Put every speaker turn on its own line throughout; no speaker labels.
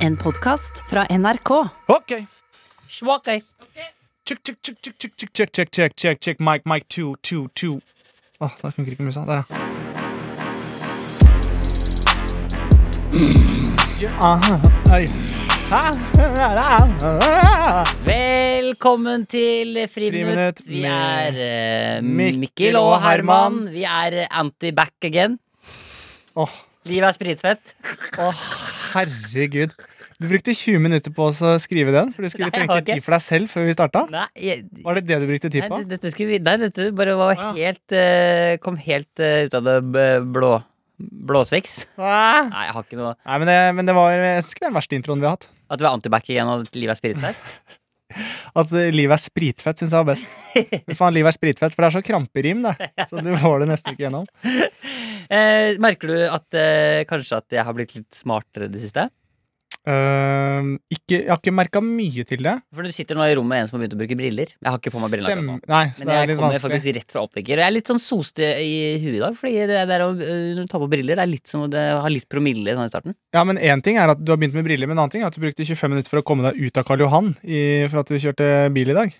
En podkast fra NRK.
Ok.
Svake.
Check, check, check, check, check, check, check, check, check, check, check, mic, mic, two, two, two. Åh, der funker ikke musa. Der, ja. Aha, ei.
Velkommen til Friminutt.
Friminutt
Vi er
med
eh,
Mikkel
Mikkel
og
og Herman.
Herman.
Vi er eh, anti-back again.
Åh,
Livet er spritfett.
åh, herregud. Du brukte 20 minutter på å skrive den, for du skulle
Nei, jeg har
tenke
ikke.
tid for deg selv før vi starta.
Nei, jeg, nei,
Var det det du brukte tid på?
det- dette skulle vi Nei, dette bare var
Å, ja.
helt eh, Kom helt eh, ut av det b- blå blåsveks.
Nei,
Nei, jeg har ikke noe
men det, men det var jeg synes ikke det er den verste introen vi har hatt.
At du er anti-back again og at livet er spritfett?
At eh, livet er spritfett, syns jeg var best. Men faen, livet er spritfett, for det er så kramperim, det. Så du får det nesten ikke gjennom.
Eh, merker du at eh, kanskje at jeg har blitt litt smartere i det siste?
Øhm, Ehm, ikke, jeg har ikke merka mye til det.
For du sitter nå i rommet med en som har begynt å bruke briller. Jeg har ikke på meg brillene akkurat nå.
Nei, så
Men
det er
jeg
litt
kommer
vanskelig.
faktisk rett fra oppvekker. Og jeg er litt sånn soste i huet i dag. Fordi det der å øh, når du tar på briller, det er litt som å ha litt promille sånn i starten.
Ja, men Én ting er at du har begynt med briller, men en annen ting er at du brukte 25 minutter for å komme deg ut av Karl Johan i, for at du kjørte bil i dag.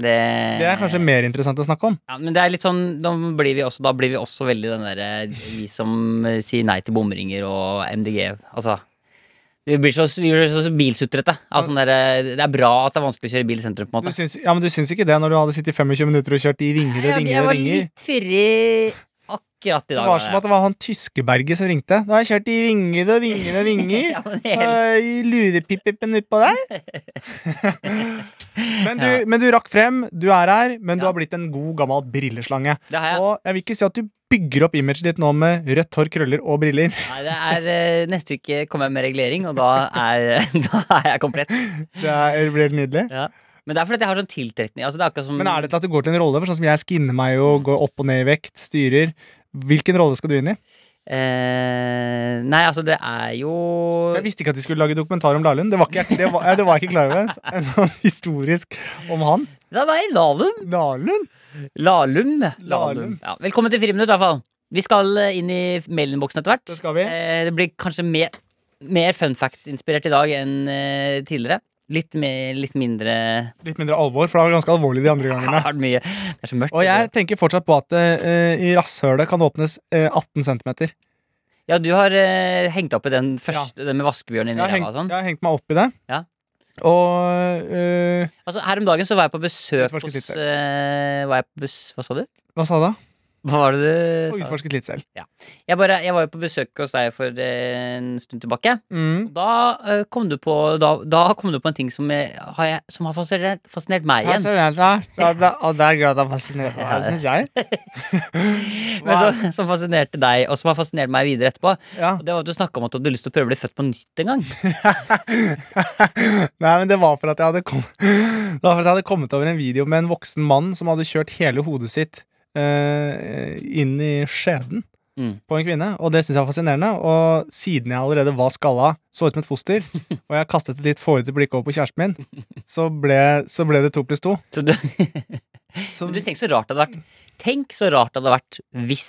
Det,
Det er
Eh.
kanskje mer interessant å snakke om.
ja, Men det er litt sånn, da blir vi også, da blir vi også veldig den derre vi som eh, sier nei til bomringer og MDG. Altså. Vi blir så, vi blir så bilsutrete. av sånn derre- det er bra at det er vanskelig å kjøre bil i sentrum, på en
Du
måte.
syns, ja, men du syns ikke det når du hadde sittet i 25 minutter og kjørt i ringer og
Jeg,
ringer
jeg
og
var
ringer?
litt fyrig akkurat i
Det
dag.
var som at det var han Tyskeberget som ringte. Nå har jeg kjørt i ringer og ringer og ringer.
ja, men helt,
Og i Lurepippipen utpå der. men, du,
Ja.
men du rakk frem, du er her, men du
Ja.
har blitt en god, gammel brilleslange.
det har jeg.
Og jeg vil ikke si at du bygger opp imaget ditt nå med rødt hår, krøller og briller.
Nei, det er eh, Neste uke kommer jeg med regulering, og da er, da er jeg komplett.
Det er, blir det nydelig.
Men det er fordi at jeg har sånn tiltrekning. Altså, det er akkurat som
Men er det til at du går til en rolle? For sånn som jeg skinner meg jo, går opp og ned i vekt, styrer. Hvilken rolle skal du inn i?
eh, Nei, altså, det er jo
Jeg visste ikke at de skulle lage dokumentar om Lahlum. Det var ikke, det var, ja, det var jeg ikke klar over. En sånn historisk om han.
Det er meg, Lahlum.
Lahlum?
Lahlum.
Lahlum.
Ja, velkommen til Friminutt, i hvert fall. Vi skal eh, inn i mailinboksen etter hvert.
Det skal vi.
Eh, det blir kanskje mer, mer fun fact-inspirert i dag enn eh, tidligere. Litt, mer, litt mindre
Litt mindre alvor, for det var ganske alvorlig de andre
Det
gangene.
er mye. Det er så mørkt.
Og jeg tenker fortsatt på at eh, i rasshølet kan åpnes eh, 18 cm.
Ja, du har eh, hengt opp i den første, den med vaskebjørnen
Jeg
inni
har
ræva
hengt,
og sånn.
jeg har hengt meg opp i det.
Ja.
Og eh,
Altså, her om dagen så var jeg på besøk
Utforsket
hos
litt selv.
eh, var jeg på bes Hva sa du?
Hva sa du da?
Hva var det du sa?
Utforsket litt selv.
Jeg, bare, jeg var jo på besøk hos deg for eh, en stund tilbake.
Mm.
Da, eh, kom du på, da, da kom du på en ting som, jeg, har, jeg, som har fascinert, fascinert meg
Ja,
igjen.
så er det her. Ja, det- og det er greit at han fascinerer meg, det syns jeg.
Men Altså, som, som fascinerte deg, og som har fascinert meg videre etterpå.
Ja.
Og det var at Du snakka om at du hadde lyst til å prøve å bli født på nytt en gang.
Nei, men det var for at jeg hadde kommet Det var for at jeg hadde kommet over en video med en voksen mann som hadde kjørt hele hodet sitt eh, inn i skjeden
Mm.
på en kvinne, og det syns jeg var fascinerende. Og siden jeg allerede var skalla, så ut som et foster, og jeg kastet et litt fårete blikk over på kjæresten min, så ble, så ble det to pluss to.
Så du,
Så
men du tenk så rart det hadde vært Tenk så rart det hadde vært hvis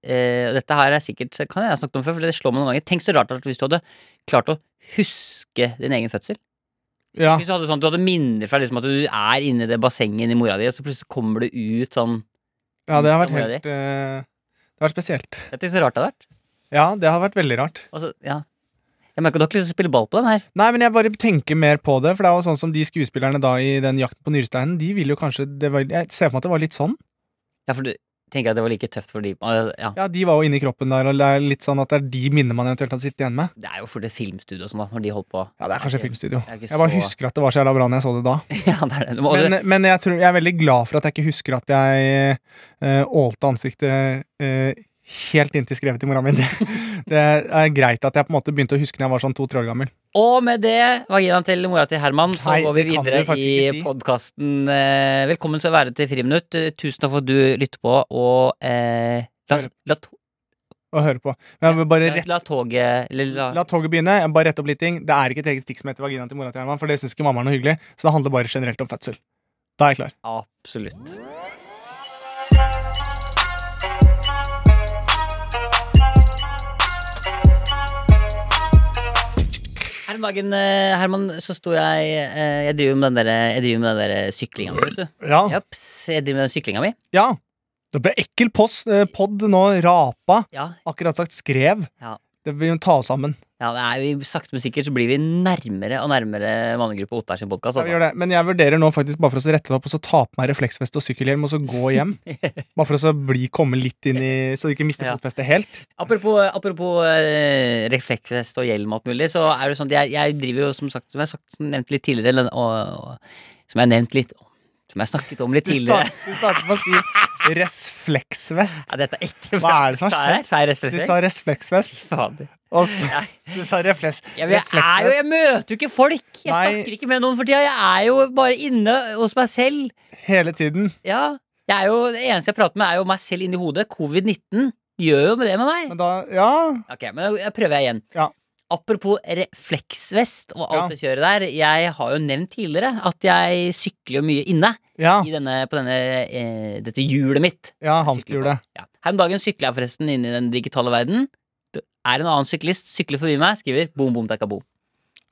eh, og Dette her er sikkert så kan jeg ha snakket om før, for det slår meg noen ganger. Tenk så rart det hadde vært hvis du hadde klart å huske din egen fødsel.
ja.
Hvis du hadde sånn, du hadde minner fra liksom at du er inni det bassenget inni mora di, og så plutselig kommer du ut sånn
Ja, det har vært
Da må jeg
helt eh, Det har vært spesielt.
Dette er så rart det har vært.
Ja, det har vært veldig rart.
Og så, ja. Jeg merker du har ikke lyst til å spille ball på den her.
Nei, men jeg bare tenker mer på det, for det er jo sånn som de skuespillerne da i den Jakten på nyresteinen, de vil jo kanskje det var, Jeg ser for meg at det var litt sånn.
Ja, for du tenker at det var like tøft for de altså, Ja.
Ja, de var jo inni kroppen der, og det er litt sånn at det er de minnene man eventuelt hadde sittet igjen med.
Det er jo fort et filmstudio og sånn, da, når de holdt på.
Ja, det er kanskje filmstudio.
Det er ikke
Jeg bare
så-
husker at det var så jævla bra når jeg så det da.
Ja, det er det. Du må,
Men, men jeg, tror, jeg er veldig glad for at jeg ikke husker at jeg eh, ålte ansiktet eh, helt inntil skrevet i mora mi. Det, det er greit at jeg på en måte begynte å huske når jeg var sånn to-tre år gammel.
Og med det, vaginaen til mora til Herman, så
Nei,
går vi
det kan
videre
du faktisk
i
ikke si.
podkasten. Velkommen til å være til Friminutt. Eh, Tusen takk for at du lytter på, og eh, la, la, to-
Å høre på. Men jeg vil bare
la, la toget eller la,
La toget begynne. Jeg må bare rette opp litt ting. Det er ikke et eget stikk som heter vaginaen til mora til Herman, for det syns ikke mamma er noe hyggelig. Så det handler bare generelt om fødsel. Da er jeg klar.
Absolutt. Er det om dagen, eh, Herman, så sto jeg eh, Jeg driver med den der, jeg driver med den der syklinga mi, vet du.
Ja.
Japs, jeg driver med den syklinga mi.
ja. Det ble ekkel post, eh, pod nå. Rapa.
Ja,
Akkurat sagt skrev.
Ja.
Det vil vi ta oss sammen.
ja det er, vi, sakte, men sikkert så blir vi nærmere og nærmere mannegruppa Ottar sin podkast.
Ja, vi
Altså.
gjør det. Men jeg vurderer nå faktisk bare for oss å rette det opp og så ta på meg refleksvest og sykkelhjelm og så gå hjem. Bare for oss å bli, komme litt inn i Så du ikke mister
Ja.
fotfestet helt.
Apropos, apropos eh, refleksvest og hjelm og alt mulig, så er det sånn at jeg, jeg driver jo som sagt, som jeg har sagt, som nevnt litt tidligere, eller- og, og som jeg har nevnt litt Som jeg har snakket om litt
Du
tidligere.
start- du starter med å si refleksvest.
Ja, dette er ikke
Hva er det som har
Sa jeg- Sa jeg
Du
refleksvest?
sa refleksvest,
Fader.
og så
Nei.
Du sa refleks,
Ja, men jeg, er jo,
refleksvest.
jeg møter jo ikke folk! Jeg
Nei.
snakker ikke med noen for tida. Jeg er jo bare inne hos meg selv.
Hele tiden.
Ja. Jeg er jo, det eneste jeg prater med, er jo meg selv inni hodet. Covid-19 gjør jo det med meg.
Men da Ja.
Ok, men da jeg prøver jeg igjen.
Ja.
Apropos refleksvest og alt
Ja.
det kjøret der. Jeg har jo nevnt tidligere at jeg sykler jo mye inne
Ja,
i denne, på denne, eh, dette hjulet mitt.
ja hamsterhjulet.
Ja. Her om dagen sykler jeg forresten inn i den digitale verden. Det er en annen syklist, sykler forbi meg, skriver boom, boom, takka, boom.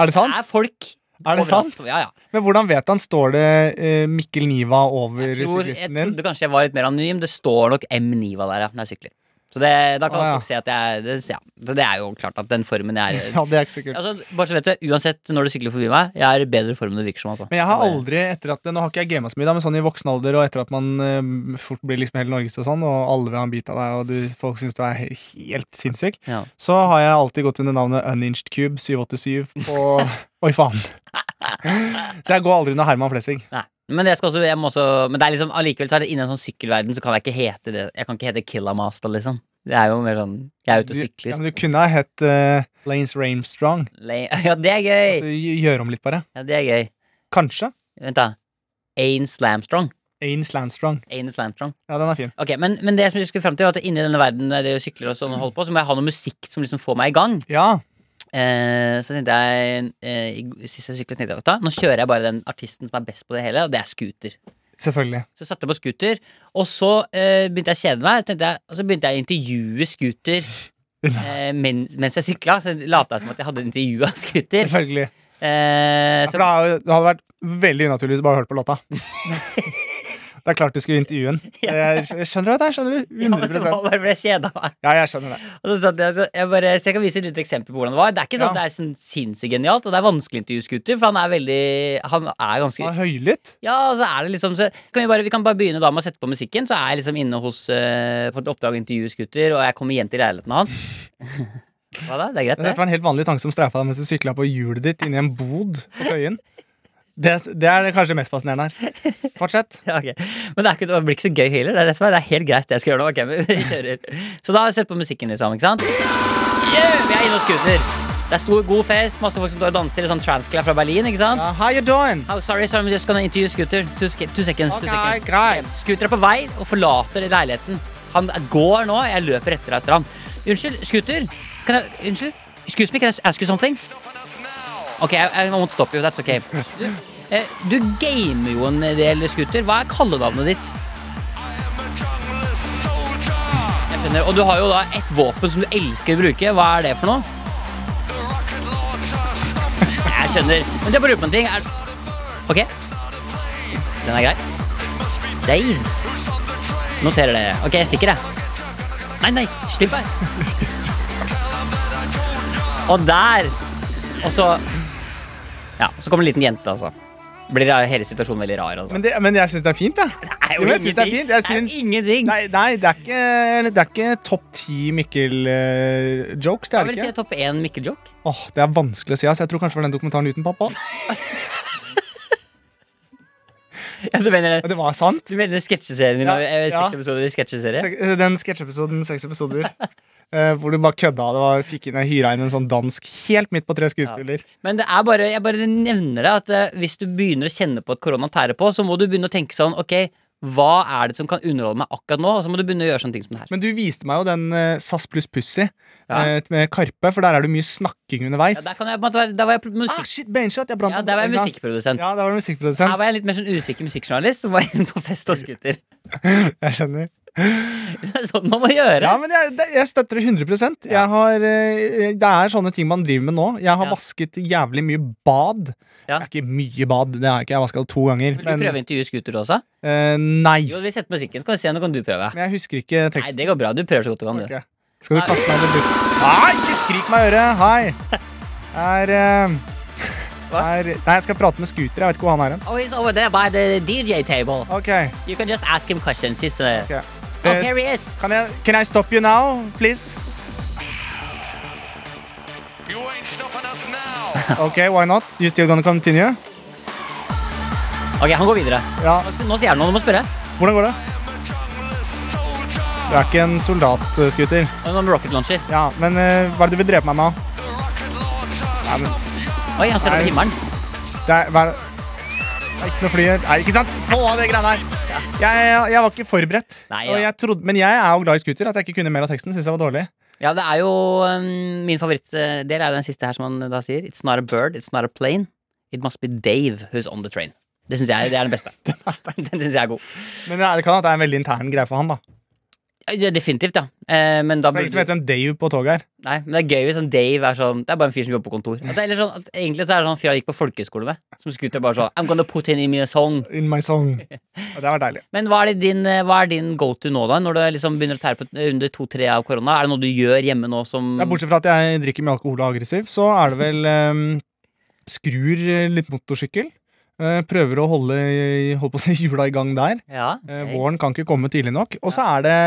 Er
Det
det sant?
er folk
Er det
overalt.
sant?
Ja, ja.
Men hvordan vet han? Står det eh, Mikkel Niva over
Jeg, tror, jeg
syklisten din?
trodde kanskje jeg var litt mer anonym. Det står nok M Niva der, ja, når jeg sykler. Så det, da kan
Ah, ja.
folk se at jeg det, ja. Så det er jo klart at den formen jeg er i
Ja, det er ikke sikkert.
altså, Bare så vet du, uansett når du sykler forbi meg, jeg er i bedre form enn det virker som. Altså.
Men jeg har
Det er-
aldri etter at, Nå har ikke jeg gama så mye, da, men sånn i voksen alder og etter at man eh, fort blir liksom helt norges og sånn, og alle vil ha en bit av deg, og du, folk syns du er he- helt sinnssyk,
Ja.
så har jeg alltid gått under navnet Uninged Cube 787 på Oi, faen. Så jeg går aldri under Herman Flesvig.
Nei. Men, jeg skal også, jeg må også, men det er liksom, allikevel så er det innen en sånn sykkelverden så kan jeg ikke hete det Jeg kan ikke hete Killamaster, liksom. Det er jo mer sånn Jeg er ute og
Du, ja,
sykler.
men du kunne ha hett eh, Lanes Rainstrong.
Le- Ja, det er
At
gøy!
du gj- Gjør om litt, bare.
Ja, det er gøy.
Kanskje.
Vent, da. Ain Slamstrong.
Ains Landstrong.
Ain Slamstrong.
Ja, den er fin.
Ok, men, men det som jeg skulle frem til var at inni denne verden der jeg sykler og sånn og holder på, så må jeg ha noe musikk som liksom får meg i gang.
Ja.
Eh, så tenkte jeg eh, i- Sist jeg syklet, tenkte jeg "Da, nå kjører jeg bare den artisten som er best på det hele, og det er Scooter.
Selvfølgelig.
Så satte jeg på Scooter, og så eh, begynte jeg å kjede meg, tenkte jeg, og så begynte jeg å intervjue Scooter. Eh, men, mens jeg sykla, så lata jeg som at jeg hadde intervjua Scooter.
Selvfølgelig.
Eh,
Ja,
så
for det, har jo- det hadde vært veldig unaturlig hvis du bare hørte på låta. Det er klart du skulle intervjue den. Jeg skj- jeg skjønner du dette? her, Skjønner du?
Ja, men det
100
var bare fordi jeg kjeda meg.
Ja, jeg skjønner det.
Og så, satt jeg, så, jeg bare, så jeg kan vise et lite eksempel på hvordan det var. Det er ikke sånn
Ja.
at det er sånn sinnssykt genialt, og det er vanskelig å intervjue Scooter, for han er veldig Han er
Han
ganske
er høylytt.
Ja, og så er det liksom så kan vi, bare, vi kan bare begynne da med å sette på musikken, så er jeg liksom inne hos eh, på et oppdrag å intervjue Scooter, og jeg kommer hjem til leiligheten hans. Hva da? Det er greit,
Dette
det?
var en helt vanlig tanke som streifa deg mens du sykla på hjulet ditt inni en bod på Tøyen. Det, det er kanskje det mest fascinerende her. Fortsett.
Ja, ok. Men det, er ikke, det blir ikke så gøy heller. Det er det som er, det er helt greit, det jeg skal gjøre nå. Ok, men vi kjører. Så da har jeg sett på musikken litt sammen, ikke sant? Yeah, vi er inne hos Scooter. Det er stor, god fest, masse folk som står og danser i sånn transklær fra Berlin, ikke sant?
Ja, how you doing?
Oh, sorry, sorry, I'm just gonna interview Scooter. Two, sec- two seconds, two
Ok,
seconds.
greit.
Scooter er på vei og forlater leiligheten. Han går nå, jeg løper etter etter ham. Unnskyld, Scooter. Kan jeg, unnskyld? Excuse me, can I ask you something? Ok, I, I won't stop you, that's okay. Du, eh, du gamer jo en del, Scooter. Hva er kallenavnet ditt? Jeg skjønner, og du har jo da et våpen som du elsker å bruke. Hva er det for noe? Jeg skjønner. Men jeg bare lurer på en ting. Er... Ok. Den er grei. Deiv. Noterer det. Ok, jeg stikker, jeg. Nei, nei, slipp meg. Og der. Og så Ja, så kommer en liten jente, altså. Blir da hele situasjonen veldig rar, altså.
Men, det, men jeg syns det er fint, jeg.
det er
Jo,
jo
jeg synes det er
ingenting.
fint. Jeg
Det er
synes-
jo ingenting.
Nei, nei det, er ikke, det er ikke topp ti Mikkel-jokes. det
Hva
er det
vil si
ikke.
er topp én Mikkel-joke?
Åh, Det er vanskelig å si. ass. Jeg tror kanskje det var den dokumentaren uten pappa.
Ja, du mener,
Ja, Det var sant.
du mener sketsjeserien din?
Ja,
og, eh,
ja.
Seks episoder i sketsjeserie?
Sek- eh, Den sketsjepisoden, seks episoder, eh, hvor du bare kødda. Det var, fikk inn, hyra inn en sånn dansk helt midt på tre skuespiller.
Men det er bare, jeg bare nevner det at eh, hvis du begynner å kjenne på at korona tærer på, så må du begynne å tenke sånn Ok, hva er det som kan underholde meg akkurat nå? Og så må du begynne å gjøre sånne ting som det her.
Men du viste meg jo den eh, SAS pluss Pussy
Ja.
eh, med Karpe, for der er det mye snakking underveis.
Ja, der, kan jeg, på en måte være- der var jeg pro-
ah,
musikk,
shit, beinshot! Jeg brant
ja,
en-
der var jeg
ikke sant?
musikkprodusent.
Ja, der var det
Her
musikkprodusent.
var jeg litt mer sånn usikker musikkjournalist som var inne på fest og scooter.
Jeg skjønner.
Det er sånn man må gjøre.
Ja, men jeg, det- jeg støtter det 100
Ja.
jeg har, eh, Det er sånne ting man driver med nå. Jeg har
Ja.
vasket jævlig mye bad.
Ja.
Det er ikke mye bad, det har jeg ikke. Jeg har vaska det to ganger.
Vil du prøve å intervjue Scooter også?
eh, nei.
Jo, vi setter musikken, så kan vi se om du kan du prøve.
Men jeg husker ikke
Nei,
teksten.
det går bra. Du prøver så godt du kan, du.
Ok. Skal du
Nei.
kaste meg under bussen? Nei, ikke skrik meg i øret! Hei! Er eh,
Hva?
er, Nei, jeg skal prate med Scooter. Jeg vet ikke hvor han er hen.
Oh, he's over there by the DJ table.
Ok,
You can just ask him questions. He's, uh...
ok.
Oh,
Eh,
here he is.
Kan jeg Can I stop you now, please?
You ain't stopping us now.
Ok, why not? You still gonna continue?
Ok, han går videre.
Ja,
Nå- Nå sier han noe, du må spørre.
Hvordan går det? Du
I'm a jungless soldier.
er ikke en soldat, eh, Scooter.
Og noen rocket launcher.
Ja, men eh, hva er det du vil drepe meg med? da?
The rocket launcher.
men-
Stop ya.
Oi, han ser over
Nei.
himmelen.
Det er, hva er det? Det er ikke noe fly her. Nei, ikke sant? Få av det greiene her. Jeg, jeg, jeg var ikke forberedt.
Nei,
og
ja.
jeg trodde, men jeg er jo glad i scooter. At jeg ikke kunne mer av teksten, synes jeg var dårlig.
Ja, det er jo um, Min favorittdel er jo den siste her som han da sier. It's not a bird, it's not a plane. It must be Dave who's on the train. Det syns jeg det er den beste. den syns jeg er god.
Men det er- det kan hende at det er en veldig intern greie for han. da For
Ja, det- Definitivt, ja. Eh, men da
Det er
burde
ingen som vet hvem Dave på toget er.
Nei, men det er gøy hvis sånn Dave er sånn Det er bare en fyr som jobber på kontor. At det, eller sånn, at egentlig så er det sånn fyr jeg gikk på folkehøyskole med, som skuter bare sånn I'm gonna put in me a song.
In my song. Og det var deilig.
Men hva er, det din, eh, hva er din go to nå, da? Når du liksom begynner å tære på under to-tre av korona? Er det noe du gjør hjemme nå som
Ja, bortsett fra at jeg drikker mye alkohol og er aggressiv, så er det vel ehm, Skrur eh, litt motorsykkel. Eh, prøver å holde holdt på å si, hjula i gang der.
Ja,
Eh,
ok.
Våren kan ikke komme tidlig nok. Og så er det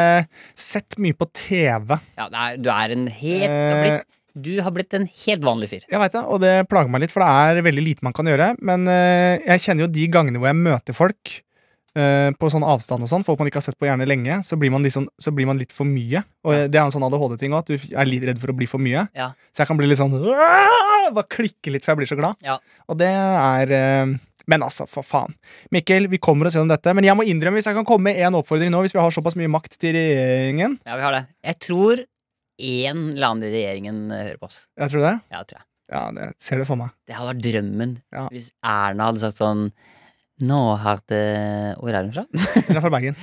sett mye på TV.
ja det er, du er en helt du har,
Eh.
blitt, du har blitt en helt vanlig fyr.
Jeg vet det, og det plager meg litt, for det er veldig lite man kan gjøre. Men eh, jeg kjenner jo de gangene hvor jeg møter folk eh, på sånn avstand og sånn, folk man ikke har sett på gjerne lenge, så blir man, liksom, så blir man litt for mye. Og eh, det er en sånn ADHD-ting òg, at du er litt redd for å bli for mye.
Ja.
Så jeg kan bli litt sånn «Åh!» Bare klikke litt, for jeg blir så glad.
Ja.
Og det er eh, men altså, for faen. Mikkel, vi kommer oss gjennom dette. Men jeg må innrømme, hvis jeg kan komme med en oppfordring nå, hvis vi har såpass mye makt til regjeringen
Ja, vi har det. Jeg tror en eller annen i regjeringen eh, hører på oss.
Jeg tror det.
Ja, tror jeg.
Ja, det ser det for meg.
Det hadde vært drømmen
Ja.
hvis Erna hadde sagt sånn Nå har det Hvor er hun fra?
Hun er fra Bergen.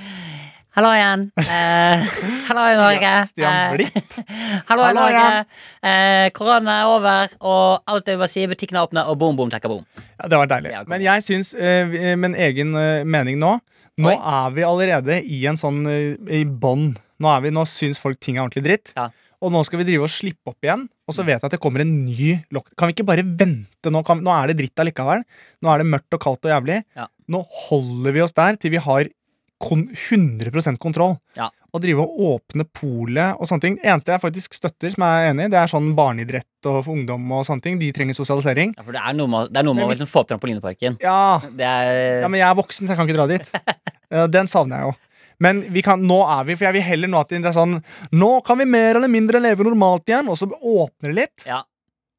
Hallo igjen. Eh, hallo i Norge.
Ja, Stian
Eh,
Blipp.
hallo i
Hallo
Norge.
igjen.
Eh, korona er over, og alt jeg vil si, butikkene er åpne, og boom, boom, takka boom.
Ja, det var deilig.
Ja, kom
Men
igjen.
jeg syns eh, vi- Min egen eh, mening nå Nå
Oi.
er vi allerede i en sånn eh, I bånd. Nå, er vi- nå syns folk ting er ordentlig dritt.
Ja. Mm.
Og nå skal vi drive og slippe opp igjen. Og så vet jeg at det kommer en ny lock. Kan vi ikke bare vente nå? Kan, nå er det dritt allikevel. Nå er det mørkt og kaldt og jævlig.
Ja.
Nå holder vi oss der til vi har kon 100 kontroll.
Ja.
Å drive og åpne polet og sånne ting. Det eneste jeg faktisk støtter, som jeg er enig i, det er sånn barneidrett og for ungdom og sånne ting. De trenger sosialisering.
Ja, for det er noe med, det er noe med å liksom få opp trampolineparken.
Ja,
Det er
ja, men jeg er voksen, så jeg kan ikke dra dit. Ja, Den savner jeg jo. Men vi kan, nå er vi, for jeg vil heller nå at det er sånn Nå kan vi mer eller mindre leve normalt igjen, og så åpner det litt.
Ja.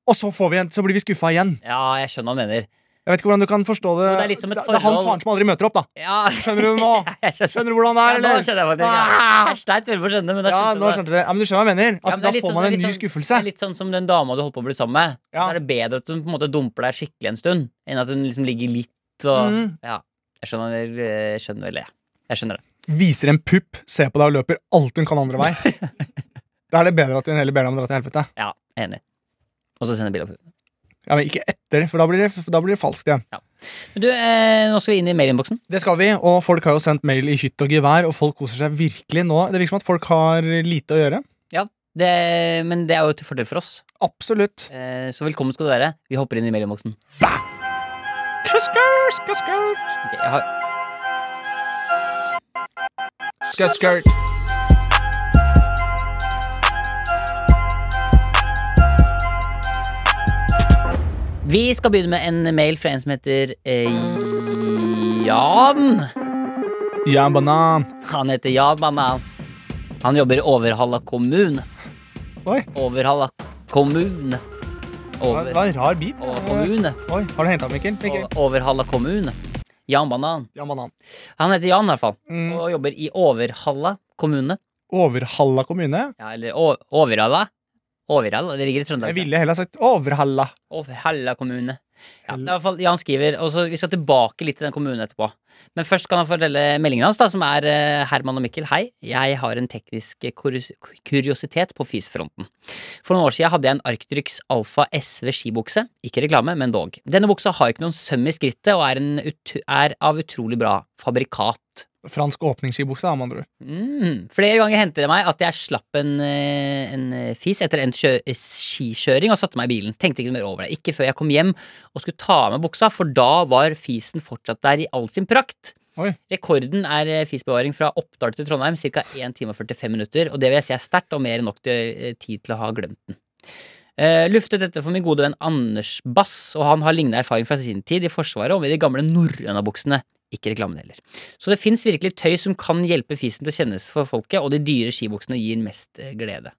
Og så, får vi en, så blir vi skuffa igjen.
Ja, jeg skjønner hva han mener.
Jeg vet ikke hvordan du kan forstå det.
Jo, det er litt som et
det er han
forhold.
faren som aldri møter opp, da.
Ja,
Skjønner du nå?
jeg skjønner.
Skjønner du hvordan det
Ja,
er,
nå
eller?
skjønner jeg hva det er.
Ah!
Jeg sleit veldig for å skjønne, men da
Ja,
skjønte
nå
jeg det.
skjønte du det. Ja, men du skjønner hva jeg mener?
Ja,
At
men
da
det er litt
får
sånn-
man en
litt
ny
sånn-
skuffelse.
Det er litt sånn som den dama du holdt på å bli sammen med.
Ja.
Så er det bedre at hun på en måte dumper deg skikkelig en stund, enn at hun liksom ligger litt og
Mm.
Ja. Jeg skjønner, vel- jeg skjønner vel det. Jeg skjønner det.
Viser en pupp, ser på deg og løper alt hun kan andre vei. Da er det bedre at hun heller ber deg om å dra til helvete.
Ja, enig. Og så sender bilde av hunden.
Ja, Men ikke etter, for da blir det, for da blir det falskt igjen.
Men du, eh, nå skal vi inn i mailinnboksen.
Det skal vi, og folk har jo sendt mail i hytt og gevær, og folk koser seg virkelig nå. Det virker som at folk har lite å gjøre.
Det- Men det er jo til fordel for oss.
Absolutt.
Eh, så velkommen skal du være. Vi hopper inn i mailinnboksen.
Skurt, skurt, skurt.
Ok, jeg har-
Skurt, skurt.
Vi skal begynne med en mail fra en som heter eh, Jan.
Ja, banan.
Han heter Jan Banan. Han jobber i Overhalla kommun.
Oi,
Overhalla kommun.
det
Over,
var en rar bit.
og kommune.
Oi, har du henta Mikkel? Mikkel?
Og- Overhalla kommune. Jan Banan.
Ja, banan.
Han heter Jan, i hvert fall.
Mm.
Og jobber i Overhalla kommune.
Overhalla kommune.
Ja, eller o Overhalla. Overhalla. Det ligger i Trøndelag.
Jeg ville heller sagt Overhalla.
Overhalla kommune. Ja, det er i hvert fall Jan skriver, og så Vi skal tilbake litt til den kommunen etterpå. Men først kan han fortelle meldingen hans, da, som er eh, Herman og Mikkel. Hei, jeg har en teknisk kurios- kuriositet på fisfronten. For noen år siden hadde jeg en Arctrix Alfa SV skibukse. Ikke reklame, men dog. Denne buksa har ikke noen søm i skrittet og er, en ut er av utrolig bra fabrikat.
Fransk åpningsskibukse, da, med andre ord.
Mm. Flere ganger hendte det meg at jeg slapp en, eh, en eh, fis etter endt kjø- eh, skikjøring og satte meg i bilen. Tenkte ikke noe mer over det. Ikke før jeg kom hjem og skulle ta av meg buksa, for da var fisen fortsatt der i all sin prakt.
Oi.
Rekorden er eh, fisbevaring fra Oppdal til Trondheim, ca. 1 time og 45 minutter. Og det vil jeg si er sterkt og mer enn nok til, eh, tid til å ha glemt den. Eh, luftet dette for min gode venn Anders Bass, og han har lignende erfaring fra sin tid i Forsvaret og med de gamle norrønabuksene. Ikke reklamen heller. Så det fins virkelig tøy som kan hjelpe fisen til å kjennes for folket, og de dyre skibuksene gir mest eh, glede.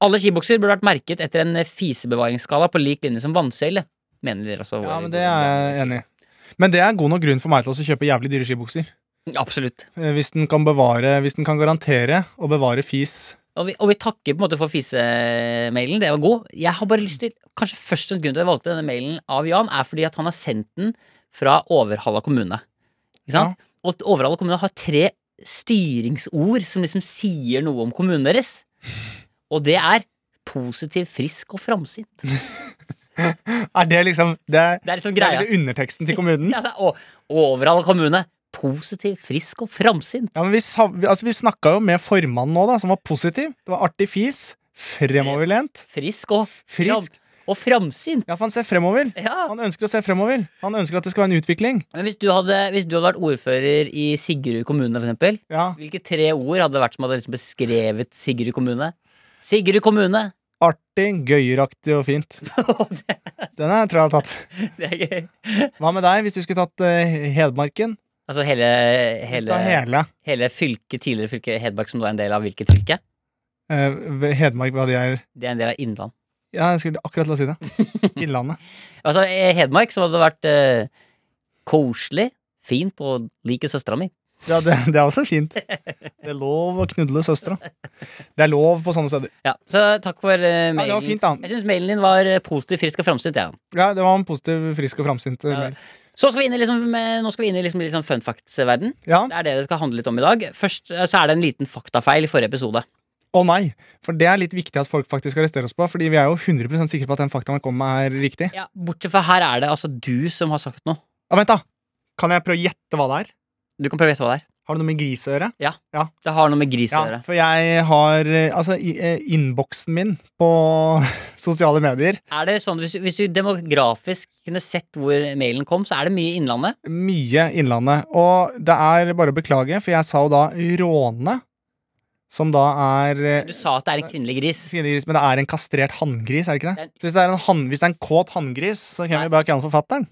Alle skibukser burde vært merket etter en eh, fisebevaringsskala på lik linje som vannsøyle, mener dere altså.
Ja,
våre
men
gode
Det er jeg enig i. Men det er god nok grunn for meg til å kjøpe jævlig dyre skibukser.
venner. Absolutt.
Eh, Hvis den kan bevare, hvis den kan garantere å bevare fis
Og vi, og vi takker på en måte for fisemailen. Det var god. Jeg har bare lyst til Kanskje først en grunn til at jeg valgte denne mailen av Jan, er fordi at han har sendt den fra Overhalla kommune. Ikke sant? Og Overhalla kommune har tre styringsord som liksom sier noe om kommunen deres. Og det er positiv, frisk og framsynt. Det
Er det liksom Det er,
er liksom
det er
greia.
liksom underteksten til kommunen?
Ja, det er, og Overhalla kommune. Positiv, frisk og framsynt.
Ja, men Vi, sa- vi- altså, vi snakka jo med formannen nå, da, som var positiv. Det var artig fis. Fremoverlent.
Frisk og, fram,
Frisk.
og framsynt.
Ja, for han ser fremover.
Ja.
Han ønsker å se fremover. Han ønsker at det skal være en utvikling.
Men hvis du hadde, hvis du hadde vært ordfører i Sigrud kommune, for eksempel,
Ja,
hvilke tre ord hadde det vært som hadde liksom beskrevet Sigrud kommune? Sigrud kommune!
Artig, gøyeraktig og fint.
det,
Den er, tror jeg jeg har tatt.
det er gøy.
Hva med deg, hvis du skulle tatt eh, Hedmarken?
Altså hele,
Ta
hele,
hele.
hele fylket, tidligere fylke Hedmark, som nå er en del av hvilket fylke?
Eh, Hedmark, hva de er
Det er en del av Innland.
Ja, jeg skulle akkurat til å si det. Innlandet.
Altså eh, Hedmark, som hadde vært eh, koselig, fint og liker søstera mi.
Ja, det, det er også fint. Det er lov å knudle søstera. Det er lov på sånne steder.
Ja, så takk for eh,
Ja, det var
mailen.
fint, da.
jeg syns mailen din var eh, positiv, frisk og framsynt. Ja.
Ja, det var en positiv, frisk og framsynt eh, mail.
Så skal vi inn i liksom, eh, nå skal vi inn i liksom, litt sånn fun facts-verden.
Ja.
Det er det det skal handle litt om i dag. Først eh, så er det en liten faktafeil i forrige episode.
Å nei! For det er litt viktig at folk faktisk arresterer oss på, fordi vi er jo 100 sikre på at den faktaen vi kommer med, er riktig.
Ja, Bortsett fra her er det altså du som har sagt noe.
Ja, vent, da! Kan jeg prøve å gjette hva det er?
Du kan prøve å gjette hva det er.
Har det noe med gris å gjøre?
Det har noe med gris å
Ja,
gjøre.
for jeg har eh, Altså, i- eh, innboksen min på sosiale medier
Er det sånn, hvis, du- hvis du demografisk kunne sett hvor mailen kom, så er det mye Innlandet.
Mye Innlandet. Og det er bare å beklage, for jeg sa jo da Råne, som da er eh,
Du sa at det er en kvinnelig gris.
svinegris, men det er en kastrert hanngris, er det ikke det?
Det er en-
Så hvis det er en, hann- hvis det er en kåt hanngris, så kan vi bare kalle den forfatteren.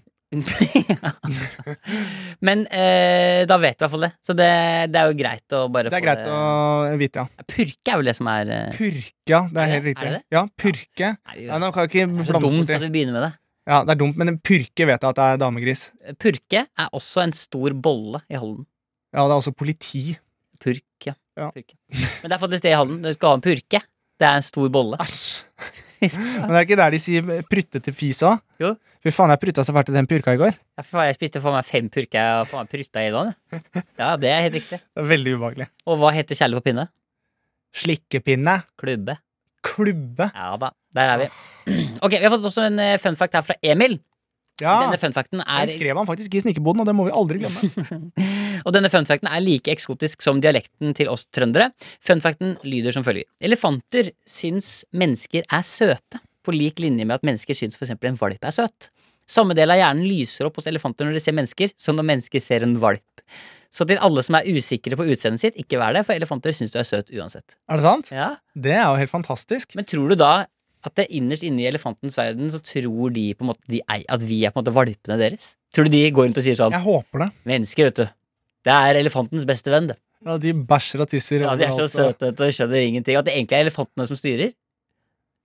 Men eh, da vet du i hvert fall det. Så det, det er jo greit å bare
Det er
få
greit å vite, ja.
Purke er vel det som er eh,
Purke, ja.
Er
Det er
det-
helt
er
riktig.
det det?
Ja, purke.
nei,
Ja, nå kan jeg ikke
Det er så
blande
dumt
bort
at
i.
vi begynner med det.
Ja, det er dumt, men en purke vet jeg at det er damegris.
Purke er også en stor bolle i Halden.
Ja, det er også politi.
Purk, ja.
Ja.
Purk. Men det er faktisk det i Halden. Du skal ha en purke. Det er en stor bolle.
Æsj. Men det er ikke der de sier prutte til fis òg?
Jo.
Fy faen, jeg prutta så fælt i den purka i går.
Ja, for faen, Jeg spiste for meg fem purker og for meg prutta i den. Ja, det er helt riktig.
Det er veldig ubehagelig.
Og hva heter kjærlighet på pinne?
Slikkepinne.
Klubbe.
Klubbe.
Ja da, der er vi. Ok, Vi har fått også en eh, fun fact her fra Emil.
Ja,
Denne fun facten er
Den skrev han faktisk i snikkerboden, og det må vi aldri glemme.
Og denne funfacten er like eksotisk som dialekten til oss trøndere. Funfacten lyder som følger. Elefanter syns mennesker er søte, på lik linje med at mennesker syns f.eks. en valp er søt. Samme del av hjernen lyser opp hos elefanter når de ser mennesker, som når mennesker ser en valp. Så til alle som er usikre på utseendet sitt, ikke vær det, for elefanter syns du er søt uansett.
Er det sant?
Ja.
Det er jo helt fantastisk.
Men tror du da at det innerst inne i elefantens verden, så tror de på en måte de er, at vi er på en måte valpene deres? Tror du de går rundt og sier sånn
Jeg håper det.
Mennesker, vet du. Det er elefantens beste venn, det.
Ja, de bæsjer og tisser.
Ja, de er så
overalt, og-
søte vet du, og skjønner ingenting. At det egentlig er elefantene som styrer.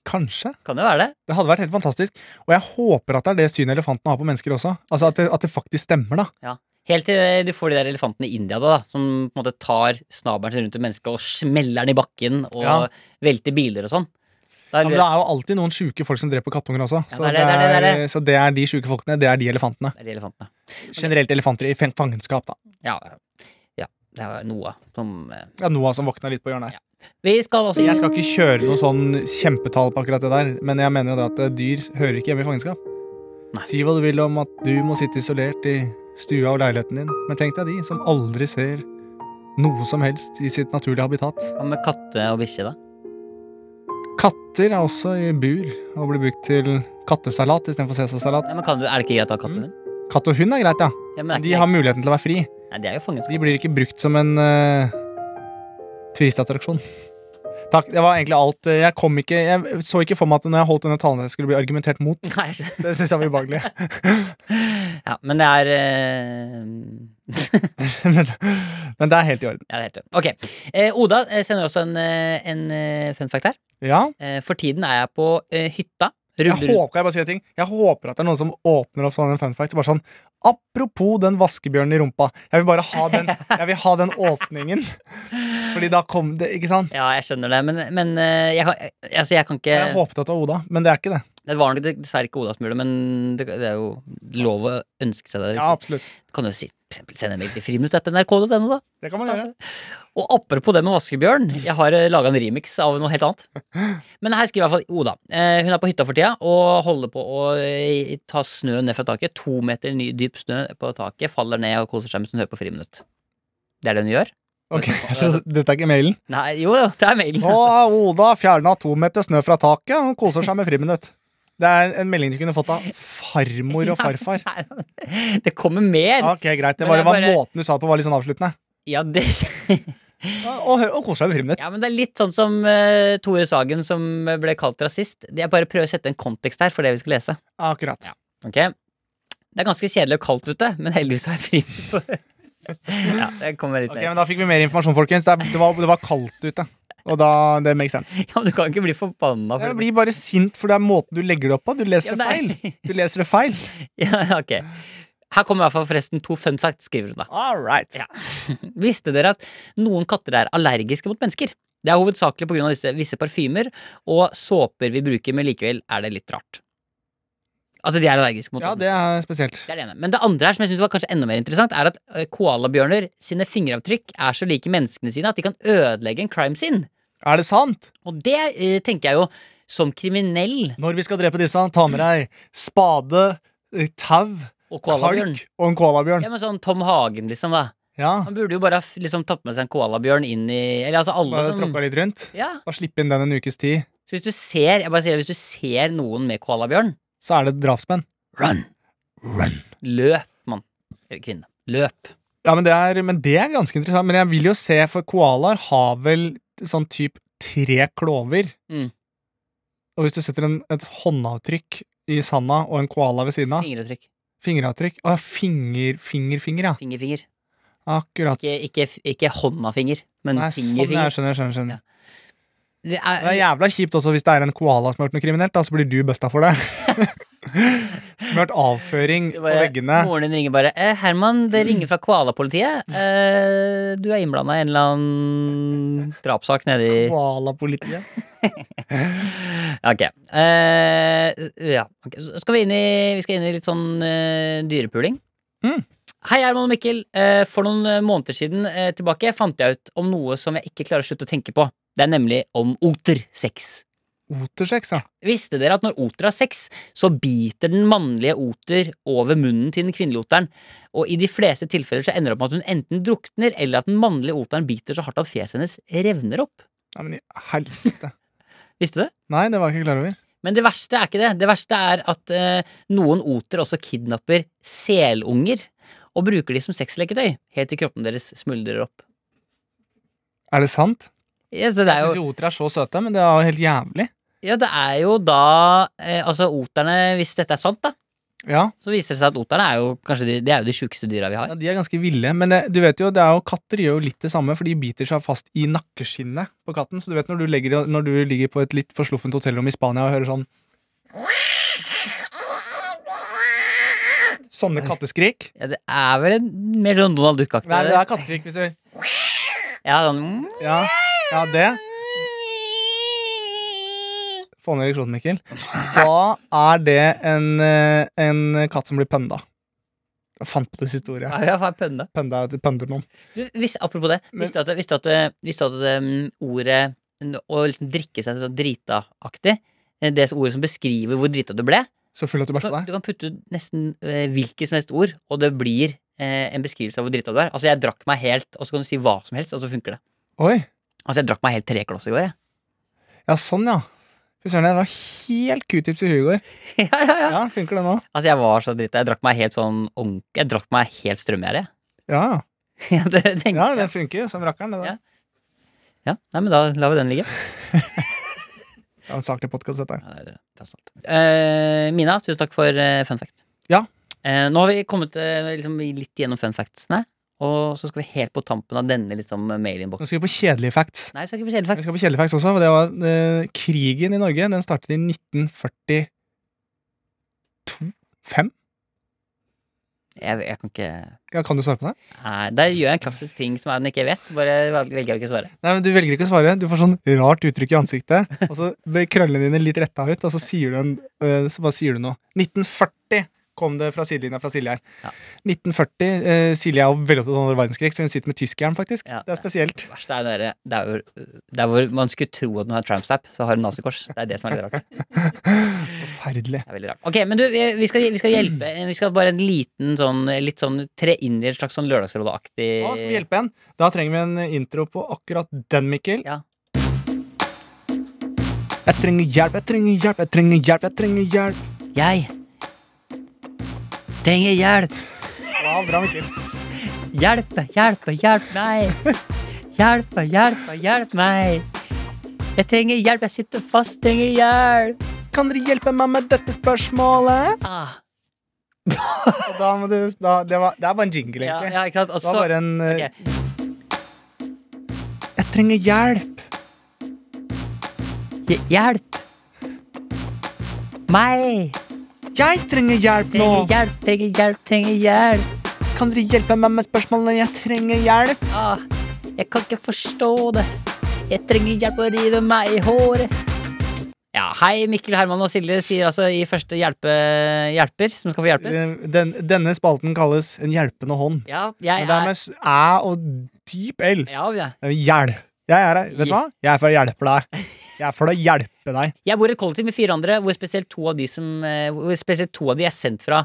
Kanskje.
Kan jo være det.
Det hadde vært helt fantastisk. Og jeg håper at det er det synet elefanten har på mennesker også. Altså At det, at det faktisk stemmer, da.
Helt til eh, du får de der elefantene i India, da, da som på en måte tar snabelen sin rundt et menneske og smeller den i bakken og
Ja.
velter biler og sånn. Da
Ja, men det er jo alltid noen sjuke folk som dreper kattunger også.
Ja,
Så,
det er
det
det, det er det,
er,
det er
så det er de sjuke folkene. Det er de elefantene.
er de elefantene.
Generelt elefanter i fang- fangenskap, da.
Ja, ja, det var noe som eh,
Ja, Noah som våkna litt på hjørnet her.
Vi skal også
Jeg skal ikke kjøre noe sånn kjempetall på akkurat det der, men jeg mener jo det at eh, dyr hører ikke hjemme i fangenskap.
Nei.
Si hva du vil om at du må sitte isolert i stua og leiligheten din, men tenk deg de som aldri ser noe som helst i sitt naturlige habitat.
Hva med katte og bikkje, da?
Katter er også i bur og blir brukt til kattesalat istedenfor cæsarsalat.
Nei, men kan du, er det ikke greit å ha katten din?
Katt og hund er greit, ja.
Ja, men er
Mm. De
ikke-
har muligheten til å være fri.
Nei, det er jo fangenskap.
De blir ikke brukt som en eh, turistattraksjon. Takk, det var egentlig alt. Jeg, kom ikke, jeg så ikke for meg at når jeg holdt denne talen, jeg skulle bli argumentert mot.
Nei, jeg skjønner.
Det syns jeg var ubehagelig.
ja, men det er eh,
men, men det er helt i orden.
Ja, det er helt rett. Ok. Eh, Oda eh, sender også en, eh, en eh, fun fact her.
Ja,
Eh, for tiden er jeg på eh, hytta.
jeg
Ruller rundt.
håper, jeg, bare sier en ting. jeg håper at det er noen som åpner opp sånn en fun fact. Bare sånn, Apropos den vaskebjørnen i rumpa. Jeg vil bare ha den, jeg vil ha den åpningen. Fordi da kom det, ikke sant?
Ja, jeg skjønner det, men, men eh, jeg, kan, eh, altså, jeg kan ikke
Jeg håpet at det var Oda, men det er ikke det.
Det var nok dessverre ikke Oda som gjorde det, men det, det er jo lov å ønske seg det.
Ja,
Liksom.
absolutt.
Du kan jo si, for eksempel sende en mail til friminutt.nrk.no, da.
Det kan man gjøre.
Og apropos det med vaskebjørn, jeg har laga en remix av noe helt annet. Men her skriver i hvert fall Oda. Eh, Hun er på hytta for tida og holder på å eh, ta snø ned fra taket. To meter ny, dyp snø på taket, faller ned og koser seg mens hun hører på Friminutt. Det er det hun gjør?
Ok, så Dette er ikke mailen?
Nei, jo, jo, det er mailen.
Nå har Oda fjerna to meter snø fra taket og koser seg med friminutt. Det er en melding du kunne fått av farmor og farfar.
Nei, nei, altså. Det kommer mer!
Ok, Greit. Det
Men
bare
jeg
var
bare-
måten du sa det på, var litt sånn avsluttende.
Ja, det
Og, hø- og koser seg med friminutt.
Ja, men det er litt sånn som eh, Tore Sagen som ble kalt rasist. Jeg bare prøver å sette en kontekst her for det vi skal lese.
Akkurat.
Ok? Det er ganske kjedelig og kaldt ute, men heldigvis har jeg fri. på det. ja, det kommer litt
Ok,
mer.
men Da fikk vi mer informasjon, folkens. Det, er- det, var, det var kaldt ute. Og da, Det makes sense.
Ja, men Du kan ikke bli forbanna.
Jeg
For
blir bare sint, for det er måten du legger det opp på. Du leser
Ja,
det
nei.
feil. Du leser det feil.
ja, ok. Her kommer i hvert fall forresten to fun facts, skriver hun da.
All right.
Ja. Visste dere at noen katter er allergiske mot mennesker? Det er hovedsakelig pga. visse parfymer og såper vi bruker, men likevel er det litt rart. At de er allergiske mot
Ja, det er spesielt.
Det er det ene. Men det andre her, som jeg synes var kanskje enda mer interessant, er at eh, koalabjørner sine fingeravtrykk er så like menneskene sine at de kan ødelegge en crime scene.
Er det sant?
Og det eh, tenker jeg jo som kriminell
Når vi skal drepe disse, ta med deg spade, eh, tau,
og koalabjørn.
kalk og en koalabjørn.
Ja, men sånn Tom Hagen, liksom. da
Ja.
Han burde jo bare ha f- liksom tatt med seg en koalabjørn inn i Eller altså alle
Bare
som
tråkka litt rundt.
ja.
Bare slippe inn den en ukes tid,
Så hvis du ser Jeg bare sier det, hvis du ser noen med koalabjørn,
så er det drapsmenn.
run!
Run.
Løp, mann. Eller kvinne. Løp.
Ja, men det, er, men det er ganske interessant. Men jeg vil jo se, for koalaer har vel sånn type tre klover.
Mm.
Og hvis du setter en, et håndavtrykk i sanda og en koala ved siden av
Fingeravtrykk.
Fingeravtrykk. Å ja, finger, finger, finger, ja.
Fingerfinger.
Akkurat.
Ikke, ikke, f- ikke håndafinger, men
Nei, sånn,
fingerfinger.
jeg skjønner, skjønner, skjønner.
Ja. Det
Det er jævla kjipt også hvis det er en koala som har gjort noe kriminelt, da, så blir du busta for det. Smørt avføring
Det
på
bare-
veggene. Mm.
Moren din ringer bare eh, 'Herman, det ringer fra Koalapolitiet. Eh, du er innblanda i en eller annen drapssak nede i
Koalapolitiet.
Ja, Ok. Eh, ja. ok. Så skal vi, inn i, vi skal inn i litt sånn eh, dyrepuling.
Mm.
Hei, Herman og Mikkel. Eh, for noen eh, måneder siden eh, tilbake fant jeg ut om noe som jeg ikke klarer å slutte å tenke på. Det er nemlig om otersex.
Otersex, ja.
Visste dere at når oter har sex, så biter den mannlige oter over munnen til den kvinnelige oteren, og i de fleste tilfeller så ender det opp med at hun enten drukner, eller at den mannlige oteren biter så hardt at fjeset hennes revner opp.
Nei, men i helvete.
Visste du det?
Nei, det var jeg ikke klar over.
Men det verste er ikke det. Det verste er at eh, noen oter også kidnapper selunger, og bruker de som sexleketøy, helt til kroppen deres smuldrer opp.
Er det sant?
Ja, så det er
Jeg
jo
syns oter er så søte, men det er jo helt jævlig.
Ja, det er jo da eh, Altså, oterne, hvis dette er sant, da,
Ja,
så viser det seg at oterne er jo kanskje de, de, er jo de sjukeste dyra vi har.
ja De er ganske ville, men eh, du vet jo, det er jo katter gjør jo litt det samme, for de biter seg fast i nakkeskinnet på katten. Så du vet når du, legger, når du ligger på et litt forsluffent hotellrom i Spania og hører sånn Sånne katteskrik.
Ja, det er vel en mer sånn Donald Duck-aktig.
Nei, det
det
er katteskrik hvis du
der. Ja, sånn, mm.
Ja, ja det. Få ned ereksjonen, Mikkel. Da er det en, eh, en katt som blir pønda. Jeg fant på disse historiene.
Ja, faen, pønne.
Pønda er til pønder noen.
Du, hvis, apropos det,
Men-
visste du at, visste du at, visste du at um, ordet n- å liksom drikke seg sånn drita-aktig eh, det er ordet som beskriver hvor drita du ble.
Så full at du
Du
bæsja
kan, du
deg.
kan putte ut nesten eh, hvilket som helst ord, og det blir eh, en beskrivelse av hvor drita du er. Altså, jeg drakk meg helt, og så kan du si hva som helst, og så funker det.
Oi.
Altså, jeg drakk meg helt trekloss i går, jeg.
Ja, sånn, ja. Fy søren, det var helt q-tips i huet i går.
ja, ja, ja.
Ja, funker det nå?
Altså, jeg var så drita. Jeg drakk meg helt sånn ordentlig Jeg drakk meg helt strømgjerde, jeg.
Ja,
Ja, det
ja.
tenker
ja
jeg.
det funker jo som rakkeren, det
Ja.
der.
Ja, nei, men da lar vi den ligge.
Det er en saklig podkast, dette her.
Ja, det er det. Tross alt. Eh, Mina, tusen takk for eh, fun fact.
Ja.
Eh, nå har vi kommet eh, liksom, litt gjennom fun factsene, og så skal vi helt på tampen av denne liksom, mail-innboksen.
Nå skal vi på kjedelige facts.
Nei, så er det ikke for kjedelig
Vi
facts.
skal på kjedelige facts også. og Det var, eh, krigen i Norge den startet i 1942 5?
Jeg, jeg kan ikke
Ja, kan du svare på det?
Nei, Der gjør jeg en klassisk ting som jeg ikke vet, så bare velger jeg å ikke svare.
Nei, men Du velger ikke å svare. Du får sånn rart uttrykk i ansiktet. Og så blir krøllene dine litt retta ut, og så sier du, en, eh, så bare sier du noe. 1940 kom det fra sidelinja fra Silje her.
Ja.
1940. eh, Silje er jo veldig opptatt av andre verdenskrig, så hun sitter med tyskeren, faktisk.
Ja.
Det er spesielt.
Det verste er jo det der- der hvor- der hvor man skulle tro at man har Tramp-stapp, så har hun nazikors. Det er det som er litt rart. Det
Forferdelig.
er veldig rart. Ok, men du, vi vi skal, vi skal hjelpe. Vi skal bare en liten sånn, litt sånn tre inn i et slags sånn lørdagsrådeaktig
Nå skal vi hjelpe en. Da trenger vi en intro på akkurat den, Mikkel.
Ja.
Jeg trenger hjelp, jeg trenger hjelp, jeg trenger hjelp. jeg trenger hjelp
Jeg trenger hjelp.
Ja, bra, Mikkel.
Hjelp, hjelp, hjelp meg. Hjelp, hjelp, hjelp meg. Jeg trenger hjelp, jeg sitter fast, trenger hjelp.
Kan dere hjelpe meg med dette spørsmålet?
Ah,
Og da må du, da, det, var, det er bare en jingle,
ja,
egentlig.
ja, ikke sant? Og
Det var
så
bare en eh,
Ok.
Jeg trenger hjelp.
Hj- Hjelp. Meg.
Jeg trenger hjelp nå.
Trenger hjelp, trenger hjelp, trenger hjelp.
Kan dere hjelpe meg med spørsmålene? Jeg trenger hjelp.
Ah, jeg kan ikke forstå det. Jeg trenger hjelp å rive meg i håret. Ja, Hei, Mikkel Herman og Silje sier altså i første hjelpe, hjelper, som skal få hjelpes.
Eh, Den, denne spalten kalles En hjelpende hånd.
Ja,
Men
jeg
det er
er
med s- æ og dyp l.
ja, ja.
Det er Hjelp. Jeg er her. Vet du hva? Jeg er for å hjelpe deg. Jeg er for å hjelpe deg.
Jeg bor i et kollektiv med fire andre, hvor spesielt to av de, som, eh, hvor spesielt to av de er sendt fra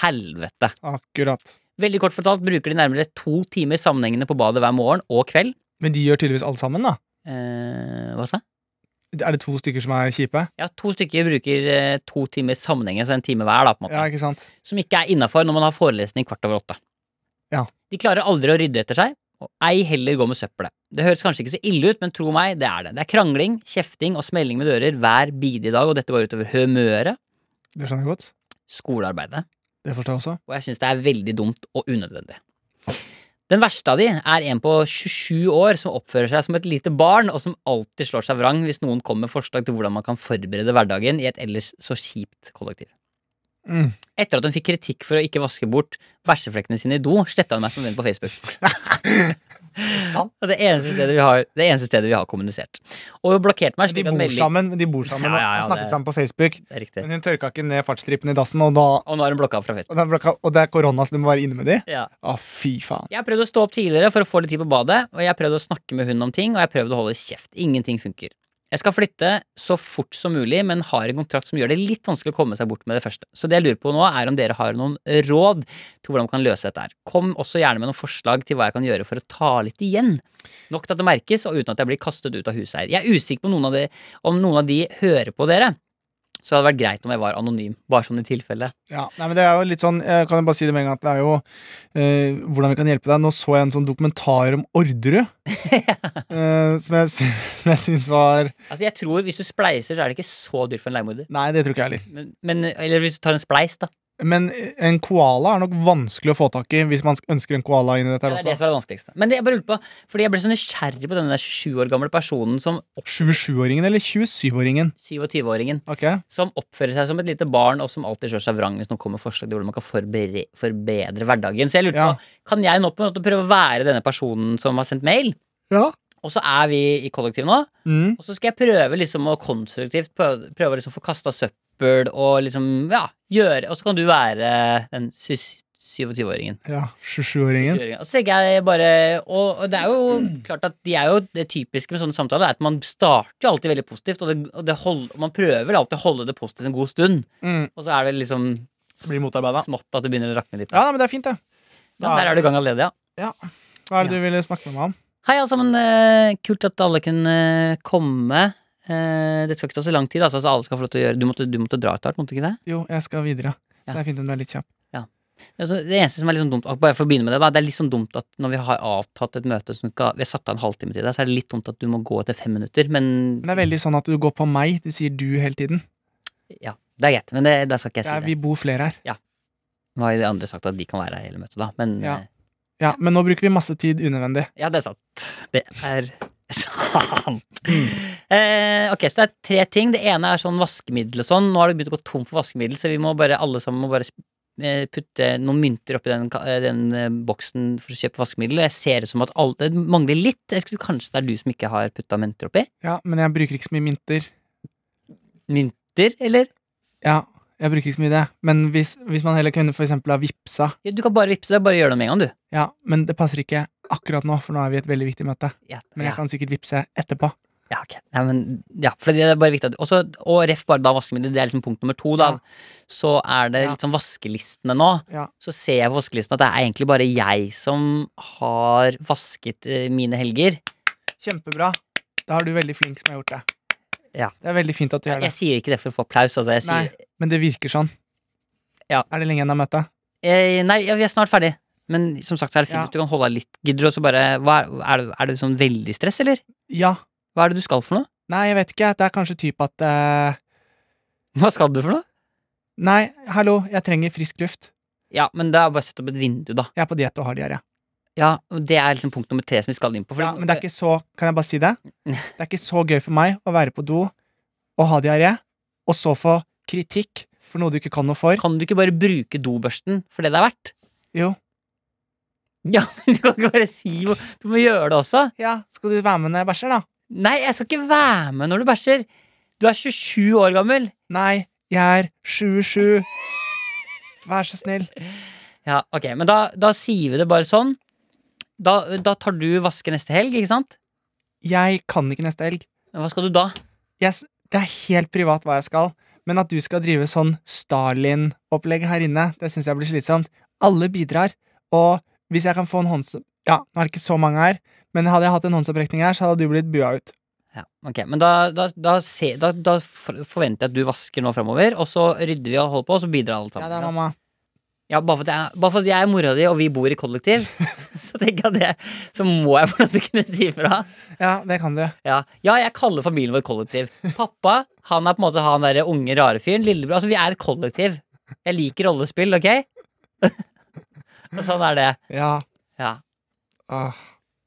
helvete.
Akkurat.
Veldig kort fortalt bruker de nærmere to timer sammenhengende på badet hver morgen og kveld.
Men de gjør tydeligvis alle sammen, da.
Eh, hva sa jeg?
Er det to stykker som er kjipe?
Ja, to stykker bruker eh, to timer sammenhengende, så en time hver, da, på en måte.
Ja, ikke sant?
som ikke er innafor når man har forelesning kvart over åtte.
Ja.
De klarer aldri å rydde etter seg, og ei heller gå med søppelet. Det høres kanskje ikke så ille ut, men tro meg, det er det. Det er krangling, kjefting og smelling med dører hver bidige dag, og dette går utover humøret,
Det skjønner jeg godt.
skolearbeidet,
Det forstår jeg også.
og jeg syns det er veldig dumt og unødvendig. Den verste av de er en på 27 år som oppfører seg som et lite barn, og som alltid slår seg vrang hvis noen kommer med forslag til hvordan man kan forberede hverdagen i et ellers så kjipt kollektiv.
Mm.
Etter at hun fikk kritikk for å ikke vaske bort bæsjeflekkene sine i do, sletta hun meg som venn på Facebook. Det er det eneste stedet vi har, det eneste stedet vi har kommunisert. Og hun blokkerte meg.
De
slik at
bor
melding-
sammen, de bor sammen
Ja, ja, ja,
og snakket
det-
sammen på Facebook.
Det er riktig.
Men hun tørka ikke ned fartsstripen i dassen, og, da,
Og nå er hun blokka fra Facebook.
og, det er blokka- og det er korona, så du må være inne med de?
Ja.
Å, fy faen.
Jeg har prøvd å stå opp tidligere for å få litt tid på badet, og jeg har prøvd å snakke med hun om ting, og jeg har prøvd å holde kjeft. Ingenting funker. Jeg skal flytte så fort som mulig, men har en kontrakt som gjør det litt vanskelig å komme seg bort med det første. Så det jeg lurer på nå, er om dere har noen råd til hvordan man kan løse dette her. Kom også gjerne med noen forslag til hva jeg kan gjøre for å ta litt igjen. Nok til at det merkes, og uten at jeg blir kastet ut av huset her. Jeg er usikker på noen av de, om noen av de hører på dere. Så det hadde vært greit om jeg var anonym, bare sånn i tilfelle.
Ja, nei, men det er jo litt sånn, jeg kan jo bare si det med en gang, at det er jo eh, hvordan vi kan hjelpe deg. Nå så jeg en sånn dokumentar om Orderud, eh, som jeg, sy- som jeg syns var
Altså, jeg tror hvis du spleiser, så er det ikke så dyrt for en leiemorder.
Nei, det tror ikke jeg heller.
Men, men, eller hvis du tar en spleis, da.
Men en koala er nok vanskelig å få tak i hvis man ønsker en koala inn i dette
Det
her
er det
også.
som er det vanskeligste. Men det jeg bare lurte på, fordi jeg ble så nysgjerrig på denne 27 år gamle personen som
27-åringen eller 27-åringen?
27-åringen
Ok,
som oppfører seg som et lite barn, og som alltid slår seg vrang hvis noen kommer med forslag til hvordan man kan forbedre, forbedre hverdagen. Så jeg lurte
Ja.
på, kan jeg nå på en måte prøve å være denne personen som har sendt mail?
ja.
Og så er vi i kollektiv nå.
Mm.
Og så skal jeg prøve liksom å konstruktivt prøve, prøve å liksom få kasta søppel og liksom ja, gjøre Og så kan du være den sy- 27-åringen.
Ja, 27-åringen.
27-åringen. Og så tenker jeg bare Og og det er jo klart at de er jo det typiske med sånne samtaler er at man starter jo alltid veldig positivt, og, det, og det hold, og man prøver alltid å holde det positivt en god stund.
Mm.
Og så er det liksom
Så blir motarbeidet.
smått at det begynner å rakne litt.
Ja, nei, men det er fint, det.
Ja, der er du i gang allerede, ja.
Hva er det du ville snakke med meg om?
Hei, alle sammen. eh, Kult at alle kunne komme. Eh, Det skal ikke ta så lang tid. Altså, så alle skal få lov til å gjøre Du måtte, du måtte dra etter hvert, måtte du ikke det?
Jo, jeg skal videre. Så
Ja.
det er fint om du er litt kjapp.
Altså, det eneste som er litt sånn dumt, og bare for å begynne med det, da, det er litt sånn dumt at når vi har avtatt et møte som skal, Vi har satt av en halvtime til deg, så er det litt dumt at du må gå etter fem minutter, men
Men det er veldig sånn at du går på meg. Du sier du hele tiden.
ja, det er greit. Men det, da skal ikke jeg
Ja,
si
vi
det.
bor flere her.
Nå har jo de andre sagt at de kan være her hele møtet, da, men
Ja.
eh,
Ja, men nå bruker vi masse tid unødvendig.
ja, det er sant. Det er sant. Eh, ok, så det er tre ting. Det ene er sånn vaskemiddel og sånn. Nå har det begynt å gå tom for vaskemiddel, så vi må bare, alle sammen må bare eh, putte noen mynter oppi den, ka- eh, den eh, boksen for å kjøpe vaskemiddel. Jeg ser det som at alle, det mangler litt. Jeg skulle kanskje det er du som ikke har putta mynter oppi.
Ja, men jeg bruker ikke så mye mynter.
Mynter, eller?
Ja, jeg bruker ikke så mye det. Men hvis, hvis man heller kunne for eksempel ha vipsa
Ja, Du kan bare vippse det. Bare gjør det med en gang, du.
Ja, men det passer ikke akkurat nå, for nå er vi i et veldig viktig møte.
Ja,
Men jeg
ja,
kan sikkert vippse etterpå.
ja, ok. Nei, men, ja for det er bare viktig at også, Og ref bare da vaskemiddel, det er liksom punkt nummer to, da.
Ja.
Så er det
Ja.
litt sånn vaskelistene nå.
Ja.
Så ser jeg på vaskelisten at det er egentlig bare jeg som har vasket eh, mine helger.
Kjempebra. Da har du veldig flink som har gjort det.
Ja.
Det er veldig fint at du gjør det.
Jeg sier ikke det for å få applaus, altså. Jeg sier,
Nei, men det virker sånn.
Ja.
Er det lenge igjen av møtet?
Eh, nei, ja, vi er snart ferdig. Men som sagt, så er det fint
Ja.
hvis du kan holde deg litt. Gidder du også bare hva er, er, det, er det sånn veldig stress, eller?
Ja.
Hva er det du skal for noe?
Nei, jeg vet ikke. Det er kanskje typ at eh,
Hva skal du for noe?
Nei, hallo, jeg trenger frisk luft.
Ja, men det er bare å sette opp et vindu, da.
Jeg er på diett og har diaré.
Ja, og det er liksom punkt nummer tre som vi skal inn på. for
Ja, men det er ikke så Kan jeg bare si det? Det er ikke så gøy for meg å være på do og ha diaré, og så få kritikk for noe du ikke kan noe for.
Kan du ikke bare bruke dobørsten for det det er verdt?
Jo.
Ja, men du kan ikke bare si hvor- Du må gjøre det også.
Ja, skal du være med når jeg bæsjer, da?
Nei, jeg skal ikke være med når du bæsjer. Du er 27 år gammel.
Nei, jeg er 27. Vær så snill.
Ja, ok, Men da, da sier vi det bare sånn. Da, da tar du vasker neste helg, ikke sant?
Jeg kan ikke neste helg.
Hva skal du da?
Jeg, s- det er helt privat hva jeg skal, men at du skal drive sånn Stalin-opplegg her inne, det syns jeg blir slitsomt. Alle bidrar, og hvis jeg kan få en hånds... Ja, nå er det ikke så mange her, men hadde jeg hatt en håndsopprekning her, så hadde du blitt bua ut.
Ja, ok, Men da, da, da, se, da, da for- forventer jeg at du vasker nå framover, og så rydder vi og holder på, og så bidrar alle
Ja,
sammen.
det er mamma.
Ja, bare for, at jeg, bare for at jeg er mora di, og vi bor i kollektiv, så tenker jeg at det, så må jeg få lov til å kunne si fra.
Ja, det kan du.
Ja. ja, jeg kaller familien vår kollektiv. Pappa han er på en måte han derre unge, rare fyren. Lillebror Altså, vi er et kollektiv. Jeg liker rollespill, OK? og sånn er det.
Ja.
Ja.
Åh,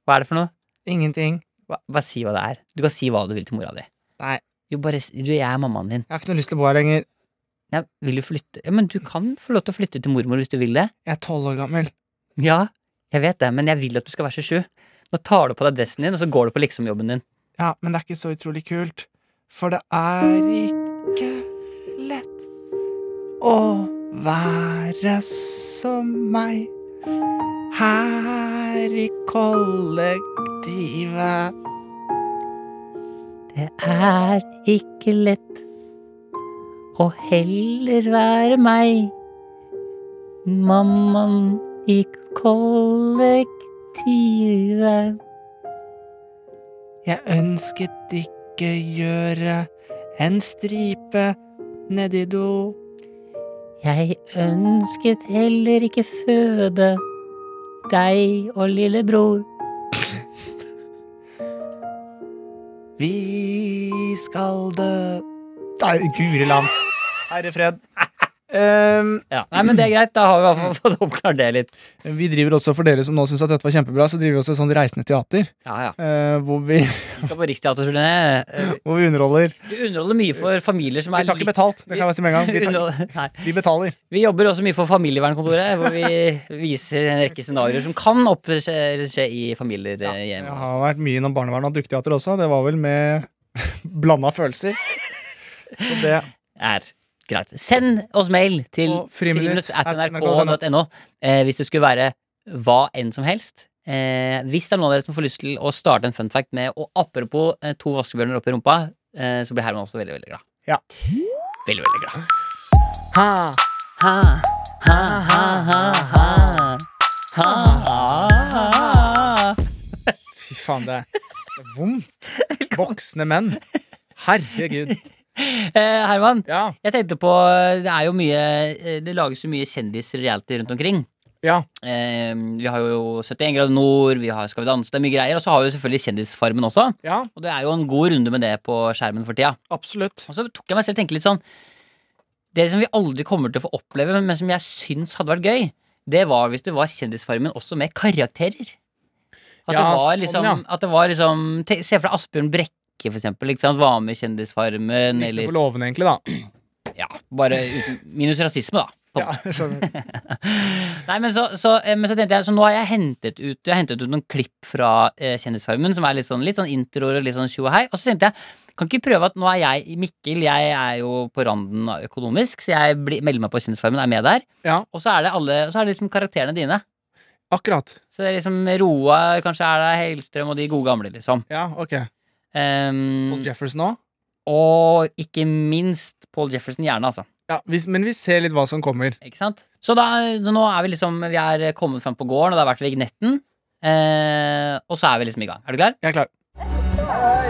Hva er det for noe?
ingenting.
Hva, bare si hva det er. Du kan si hva du vil til mora di.
Nei.
Jo, bare si Du, jeg er mammaen din.
Jeg har ikke noe lyst til å bo her lenger.
Nei, vil du flytte Ja, men du kan få lov til å flytte til mormor hvis du vil det.
Jeg er tolv år gammel.
Ja, jeg vet det, men jeg vil at du skal være 27. Nå tar du på deg dressen din, og så går du på liksomjobben din.
Ja, men det er ikke så utrolig kult. For det er ikke lett å være som meg her i kollektivet.
Det er ikke lett å heller være meg. Mammaen i kollektivet.
Jeg ønsket ikke gjøre en stripe nedi do.
Jeg ønsket heller ikke føde deg og lillebror.
Vi skal dø Nei, guri land. Herre fred. Ehm,
Ja. Nei, men det er greit. Da har vi i hvert fall fått oppklart det litt.
vi driver også, for dere som nå syns at dette var kjempebra, så driver vi også et sånt reisende teater.
Ja, ja.
eh, hvor, vi,
Vi skal på Riksteaterturné. Eh,
hvor vi underholder.
Vi underholder mye for familier som
Vi
er
tar ikke betalt, det kan jeg bare si med en gang. Vi, tar,
Underholder- Nei.
vi betaler.
Vi jobber også mye for Familievernkontoret, hvor vi viser en rekke scenarioer som kan oppskje skje i familier eh,
Det
hjemme.
har vært mye innom barnevern og dukketeater også. Det var vel med blanda følelser. Så det
Er greit. Send oss mail til
Og friminutt
friminutt at
at
nrk.no eh, hvis det skulle være hva enn som helst. Eh, hvis det er noen av dere som får lyst til å starte en fun fact med Og apropos eh, to vaskebjørner oppi rumpa, eh, så blir Herman også veldig, veldig glad.
Ja.
Veldig, veldig glad. Ha, ha, ha, ha, ha, ha. Ha, ha, ha.
Fy faen, det er vondt. Voksne menn. Herregud.
Eh, Herman,
Ja.
jeg tenkte på Det er jo mye eh, Det lages jo mye kjendisreality rundt omkring.
ja.
Eh, vi har jo 71 grader nord, vi har Skal vi danse, det er mye greier. Og så har vi jo selvfølgelig Kjendisfarmen også.
Ja,
Og det er jo en god runde med det på skjermen for tida.
absolutt.
Og så tok jeg meg selv og tenkte litt sånn Det som vi aldri kommer til å få oppleve, men som jeg syns hadde vært gøy, det var hvis det var Kjendisfarmen også med karakterer. At,
Ja,
det var
sånn,
liksom,
ja.
at det var liksom te- Se for deg Asbjørn Brekke, for eksempel. Ikke sant? Var med i Kjendisfarmen,
Lysne
eller
på låven, egentlig, da.
Ja, bare uten, minus rasisme, da. På-
Ja, skjønner.
Nei, men så, så, eh, men så tenkte jeg Så nå har jeg hentet ut, jeg har hentet ut noen klipp fra eh, Kjendisfarmen, som er litt sånn, litt sånn introer og litt sånn tjo og hei. Og så tenkte jeg kan ikke prøve at nå er jeg Mikkel, jeg er jo på randen av økonomisk, så jeg blir, melder meg på Kjendisfarmen, er med der.
ja,
Og så er det alle, så er det liksom karakterene dine.
akkurat.
Så det er liksom Roar, kanskje er det Hellstrøm og de gode gamle, liksom.
Ja, ok.
Ehm,
Paul Jefferson òg.
og ikke minst Paul Jefferson, gjerne, altså.
Ja, vi- men vi ser litt hva som kommer.
Ikke sant? Så, da, så nå er vi liksom Vi er kommet fram på gården, og det har vært vignetten. Eh, og så er vi liksom i gang. Er du klar?
Jeg er klar.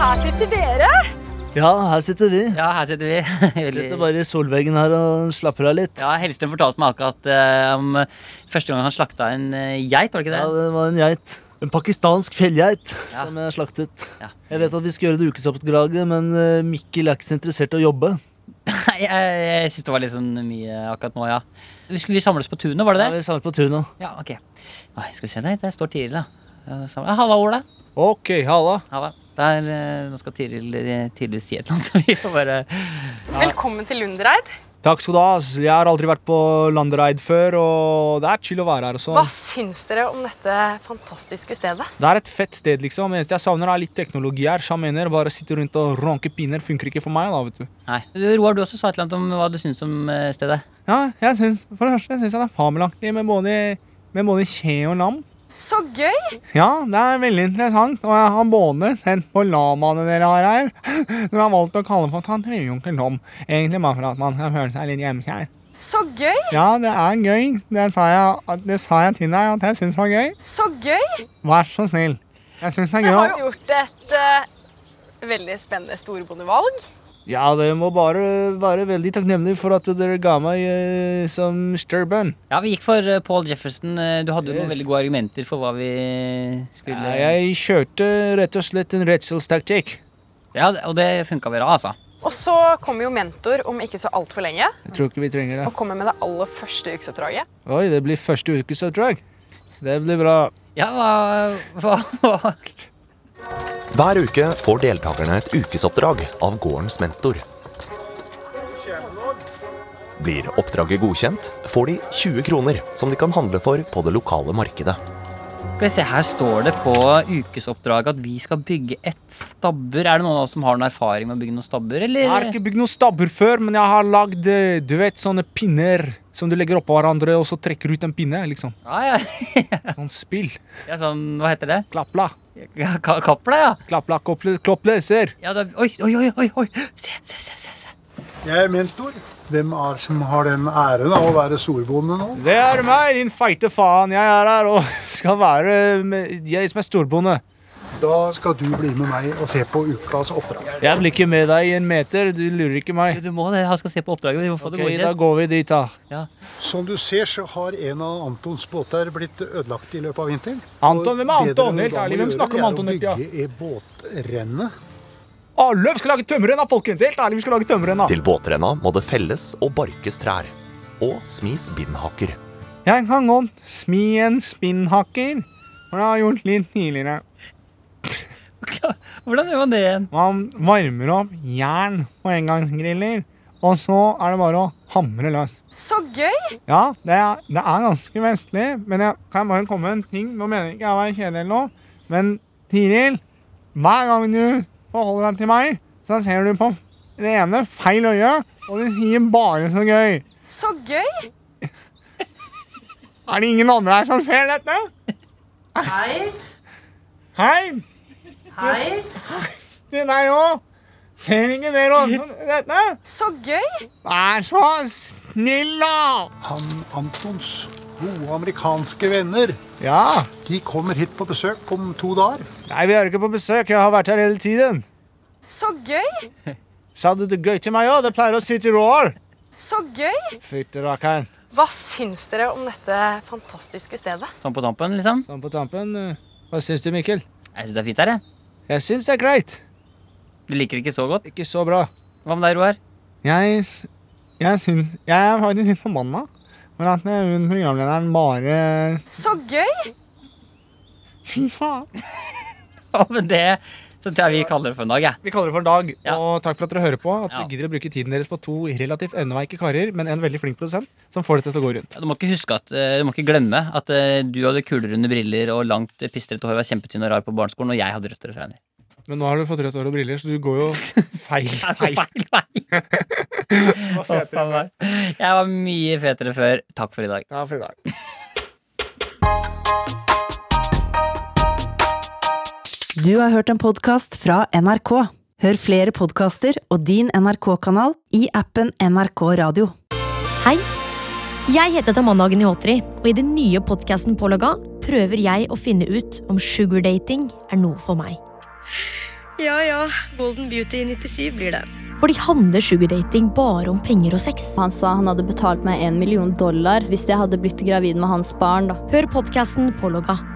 Her sitter dere.
Ja, her sitter vi.
Ja, her sitter vi.
Sitter
Veldig-
bare i solveggen her og slapper av litt.
Ja, Hellstrøm fortalte meg akkurat eh, om første gang han slakta en eh, geit, var det ikke
Ja,
det?
det var en geit. En pakistansk fjellgeit
Ja.
som jeg slaktet.
Ja.
Jeg vet at vi skal gjøre det ukesoppdraget, men eh, Mikkel er ikke så interessert i å jobbe.
Nei, jeg, jeg syns det var litt sånn mye akkurat nå, ja. Vi skulle vi samles på tunet, var
Da
det
er
det?
vi samlet på tunet.
Ja, ok. Nei, skal vi se der. Der står Tiril, da. Ja, sam- ja, Halla, Ola.
Ok, halla.
Halla. Der, eh, nå skal Tiril eh, tydeligvis si et eller annet, så vi får bare
Velkommen til Lundereid.
Takk skal du ha. ass. Jeg har aldri vært på landereid før, og det er chill å være her. og sånn.
Hva syns dere om dette fantastiske stedet?
Det er et fett sted, liksom. Eneste jeg savner, er litt teknologi her. Sjamener, bare sitte rundt og ronke piner funker ikke for meg, da, vet du.
Nei. Roar, du også sa et eller annet om hva du syns om eh, stedet.
Ja, jeg syns, for det første syns jeg det er fabelaktig med både, med både kje og lam.
Så gøy!
Ja, det er veldig interessant, og jeg har både sendt på lamaene dere har her, som jeg har valgt å kalle for tante Lillejunker Tom, egentlig bare for at man skal føle seg litt hjemmekjær.
Så gøy!
Ja, det er gøy. Det sa jeg, at- det sa jeg til deg at jeg syns var gøy.
Så gøy!
Vær så snill. Jeg syns det er gøy.
Jeg har
å-
jo gjort et eh, veldig spennende storbondevalg.
Ja, dere må bare være veldig takknemlige for at dere ga meg eh, som størbønn.
Ja, vi gikk for eh, Paul Jefferson. Eh, Du hadde jo noen
Yes.
veldig gode argumenter for hva vi skulle
Ja, Jeg kjørte rett og slett en redselstaktikk.
Ja, og det funka bra, altså.
Og så kommer jo mentor om ikke så altfor lenge
Jeg tror ikke vi trenger det.
og kommer med det aller første ukesoppdraget.
Oi, det blir første ukesoppdrag. Det blir bra.
Ja, hva, hva, hva
Hver uke får deltakerne et ukesoppdrag av gårdens mentor. Blir oppdraget godkjent, får de 20 kroner som de kan handle for på det lokale markedet.
Skal vi se, her står det på ukesoppdraget at vi skal bygge et stabbur. Er det noen av oss som har noen erfaring med å bygge noen stabbur,
Jeg har
eller?
ikke bygd noen stabbur før, men jeg har lagd eh, du vet, sånne pinner som du legger oppå hverandre, og så trekker du ut en pinne. liksom.
Ja, ja.
Sånn spill.
ja, sånn, hva heter det?
Klappla.
Ja, ka- Kapla, ja.
Klappla, kopple- kloppløser.
ja da, oi, oi, oi, oi, oi. Se, se, se, se, se.
Jeg er mentor. Hvem er som har den æren av å være storbonde nå?
Det er meg, din feite faen. Jeg er her og skal være med, jeg som er storbonde.
Da skal du bli med meg og se på ukas oppdrag.
Jeg blir ikke med deg i en meter.
Du lurer ikke meg.
Jo, Du må det, han skal se på oppdraget. Vi må få
Ok,
det
Da
godkjent.
går vi dit, da.
Som du ser, så har en av Antons båter blitt ødelagt i løpet av vinteren.
Anton, hvem er
Og det dere
Anton? Helt
da må
ærlig, hvem
gjøre,
snakker om
det er
Anton
å
hele tida?
Bygge et båtrenne
Alle vi skal lage tømmerrenna, folkens! Helt ærlig, vi skal lage tømmerrenna.
Til båtrenna må det felles og barkes trær. Og smis bindhaker.
Jeg kan godt smi en spinnhakker, for det har jeg gjort litt tidligere.
Hvordan gjør man det igjen?
Man varmer opp jern på engangsgriller, og så er det bare å hamre løs.
Så gøy!
Ja, det er, det er ganske vestlig, men jeg kan bare komme med en ting. Nå mener jeg ikke jeg å være kjedelig eller noe, men Tiril, hver gang du forholder deg til meg, så ser du på det ene feil øyet, og du sier bare så gøy.
Så gøy!
Er det ingen andre her som ser dette?
Hei,
Hei,
hei.
det er deg òg. Ser ikke dere også dette?
Så gøy!
Vær så snill, da!
Han Antons gode amerikanske venner,
Ja.
de kommer hit på besøk om to dager.
Nei, vi er ikke på besøk. Jeg har vært her hele tiden.
Så gøy!
Sa du det gøy til meg òg? Det pleier å si til Roar.
Så gøy!
Fytterakker'n.
Hva syns dere om dette fantastiske stedet?
Sånn på tampen, liksom?
Sånn på tampen. eh, Hva syns du, Mikkel?
Jeg syns det er fint her, jeg.
Jeg syns det er greit.
Du liker det ikke så godt.
Ikke så bra.
Hva med deg, Roar?
Jeg, s- jeg syns Jeg er faktisk litt forbanna for at eh, hun programlederen bare
Så gøy!
Fy faen.
Ja, men det Så tror jeg vi kaller det for en dag, jeg.
Vi kaller det for en dag,
Ja.
og takk for at dere hører på. At
Ja.
dere gidder å bruke tiden deres på to relativt evneveike karer, men en veldig flink produsent, som får dette til å gå rundt.
Ja, Du må ikke huske at, eh, du må ikke glemme at eh, du hadde kulerunde briller og langt eh, pistrete hår, var kjempetynn og rar på barneskolen, og jeg hadde rødt refrenger.
Men nå har du fått rødt hår og briller, så du går jo feil vei.
Feil vei! Å, faen meg. Jeg var mye fetere før. Takk for i dag.
Ja, for i dag.
Du har hørt en podkast fra NRK. Hør flere podkaster og din NRK-kanal i appen NRK Radio.
Hei! Jeg heter Tamanna Agnihotri, og i den nye podkasten Pålogga prøver jeg å finne ut om sugardating er noe for meg.
Ja, ja. Golden Beauty 97 blir det.
Fordi handler sugardating bare om penger og sex?
Han sa han hadde betalt meg en million dollar hvis jeg hadde blitt gravid med hans barn. da.
Hør podkasten Pålogga